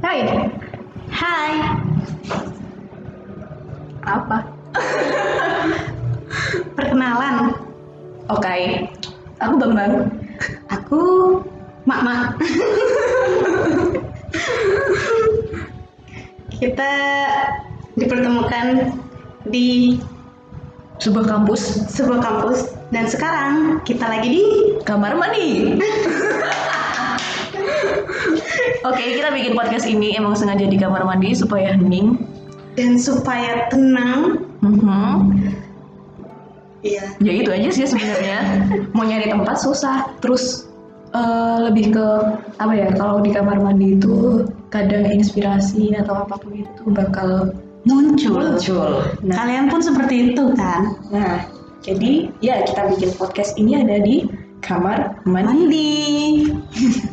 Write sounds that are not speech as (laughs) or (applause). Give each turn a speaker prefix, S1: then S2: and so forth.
S1: Hai.
S2: Hai.
S1: Apa?
S2: Perkenalan.
S1: Oke. Aku Bang Bang.
S2: Aku Mak Mak. (laughs) Kita dipertemukan di
S1: Sebuah kampus
S2: sebuah kampus dan sekarang kita lagi di
S1: kamar mandi. Oke, kita bikin podcast ini emang sengaja di kamar mandi supaya hening.
S2: dan supaya tenang.
S1: Mhm.
S2: Iya.
S1: Ya itu aja sih sebenarnya. Mau nyari tempat susah. Terus eh, lebih ke apa ya? Kalau di kamar mandi itu kadang inspirasi atau apapun itu bakal
S2: Muncul.
S1: muncul. Nah,
S2: Kalian pun seperti itu kan?
S1: nah, jadi ya kita bikin podcast ini ada di kamar mandi.
S2: Mandi.